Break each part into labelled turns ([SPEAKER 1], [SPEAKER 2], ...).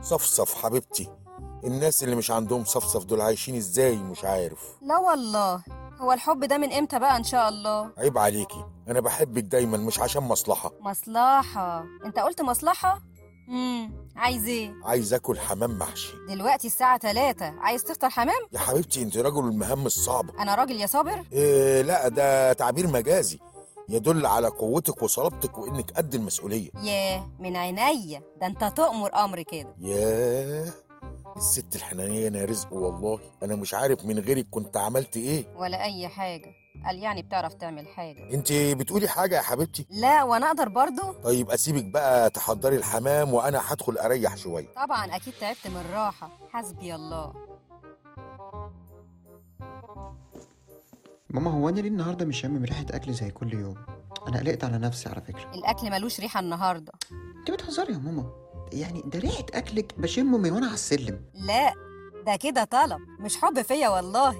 [SPEAKER 1] صفصف حبيبتي الناس اللي مش عندهم صفصف دول عايشين ازاي مش عارف
[SPEAKER 2] لا والله هو الحب ده من امتى بقى ان شاء الله
[SPEAKER 1] عيب عليكي انا بحبك دايما مش عشان مصلحة
[SPEAKER 2] مصلحة انت قلت مصلحة امم عايز ايه
[SPEAKER 1] عايز اكل حمام محشي
[SPEAKER 2] دلوقتي الساعة 3 عايز تفطر حمام
[SPEAKER 1] يا حبيبتي انت رجل المهام الصعبة
[SPEAKER 2] انا راجل يا صابر
[SPEAKER 1] إيه لا ده تعبير مجازي يدل على قوتك وصلابتك وانك قد المسؤولية
[SPEAKER 2] ياه من عينيا ده انت تؤمر امر كده
[SPEAKER 1] ياه الست الحنانية انا رزق والله انا مش عارف من غيرك كنت عملت ايه
[SPEAKER 2] ولا اي حاجة قال يعني بتعرف تعمل حاجة
[SPEAKER 1] انت بتقولي حاجة يا حبيبتي
[SPEAKER 2] لا وانا اقدر برضو
[SPEAKER 1] طيب اسيبك بقى تحضري الحمام وانا هدخل اريح شوية
[SPEAKER 2] طبعا اكيد تعبت من الراحة حسبي الله
[SPEAKER 3] ماما هو انا ليه النهارده مش شامم ريحه اكل زي كل يوم انا قلقت على نفسي على فكره
[SPEAKER 2] الاكل ملوش ريحة النهاردة
[SPEAKER 3] انت بتهزري يا ماما يعني ده ريحه اكلك بشمه من وانا على السلم
[SPEAKER 2] لا ده كده طلب مش حب فيا والله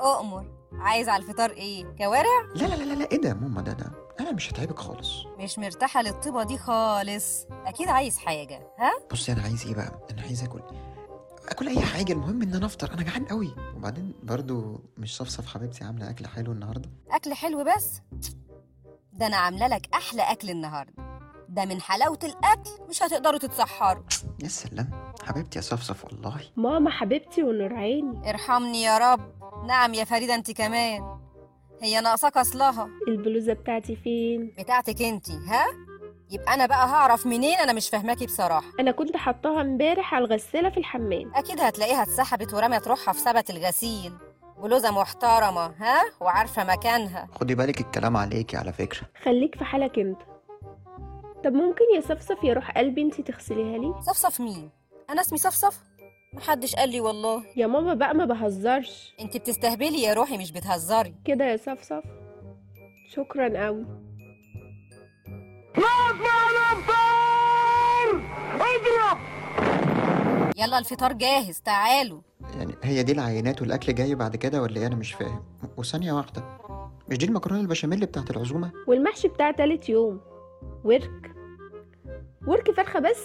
[SPEAKER 2] اؤمر عايز على الفطار ايه كوارع
[SPEAKER 3] لا لا لا لا, لا ايه ده يا ماما ده ده انا مش هتعبك خالص
[SPEAKER 2] مش مرتاحة للطيبة دي خالص اكيد عايز حاجة ها
[SPEAKER 3] بصي انا عايز ايه بقى انا عايز اكل اكل اي حاجه المهم ان انا افطر انا جعان قوي وبعدين برضو مش صفصف حبيبتي عامله اكل حلو النهارده
[SPEAKER 2] اكل حلو بس ده انا عامله لك احلى اكل النهارده ده من حلاوه الاكل مش هتقدروا تتسحروا
[SPEAKER 3] يا سلام حبيبتي يا صفصف والله
[SPEAKER 4] ماما حبيبتي ونور عيني
[SPEAKER 2] ارحمني يا رب نعم يا فريده انت كمان هي ناقصاك اصلها
[SPEAKER 4] البلوزه بتاعتي فين
[SPEAKER 2] بتاعتك انت ها يبقى انا بقى هعرف منين انا مش فاهماكي بصراحه
[SPEAKER 4] انا كنت حطاها امبارح على الغساله في الحمام
[SPEAKER 2] اكيد هتلاقيها اتسحبت ورمت روحها في سبت الغسيل بلوزه محترمه ها وعارفه مكانها
[SPEAKER 3] خدي بالك الكلام عليكي على فكره
[SPEAKER 4] خليك في حالك انت طب ممكن يا صفصف يا روح قلبي انت تغسليها لي
[SPEAKER 2] صفصف مين انا اسمي صفصف محدش قال لي والله
[SPEAKER 4] يا ماما بقى ما بهزرش
[SPEAKER 2] انت بتستهبلي يا روحي مش بتهزري
[SPEAKER 4] كده يا صفصف شكرا قوي
[SPEAKER 2] يلا الفطار جاهز تعالوا
[SPEAKER 3] يعني هي دي العينات والاكل جاي بعد كده ولا ايه انا مش فاهم وثانيه واحده مش دي المكرونه البشاميل بتاعت العزومه
[SPEAKER 4] والمحشي بتاع تالت يوم ورك ورك فرخه بس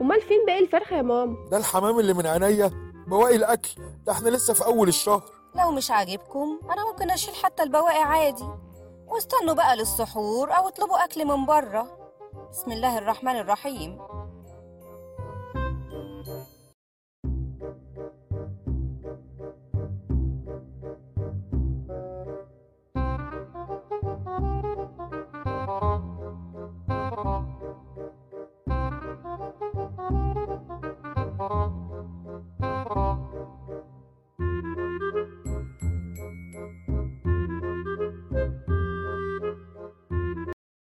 [SPEAKER 4] امال فين باقي الفرخه يا ماما
[SPEAKER 1] ده الحمام اللي من عينيا بواقي الاكل ده احنا لسه في اول الشهر
[SPEAKER 2] لو مش عاجبكم انا ممكن اشيل حتى البواقي عادي واستنوا بقى للسحور او اطلبوا اكل من بره بسم الله الرحمن الرحيم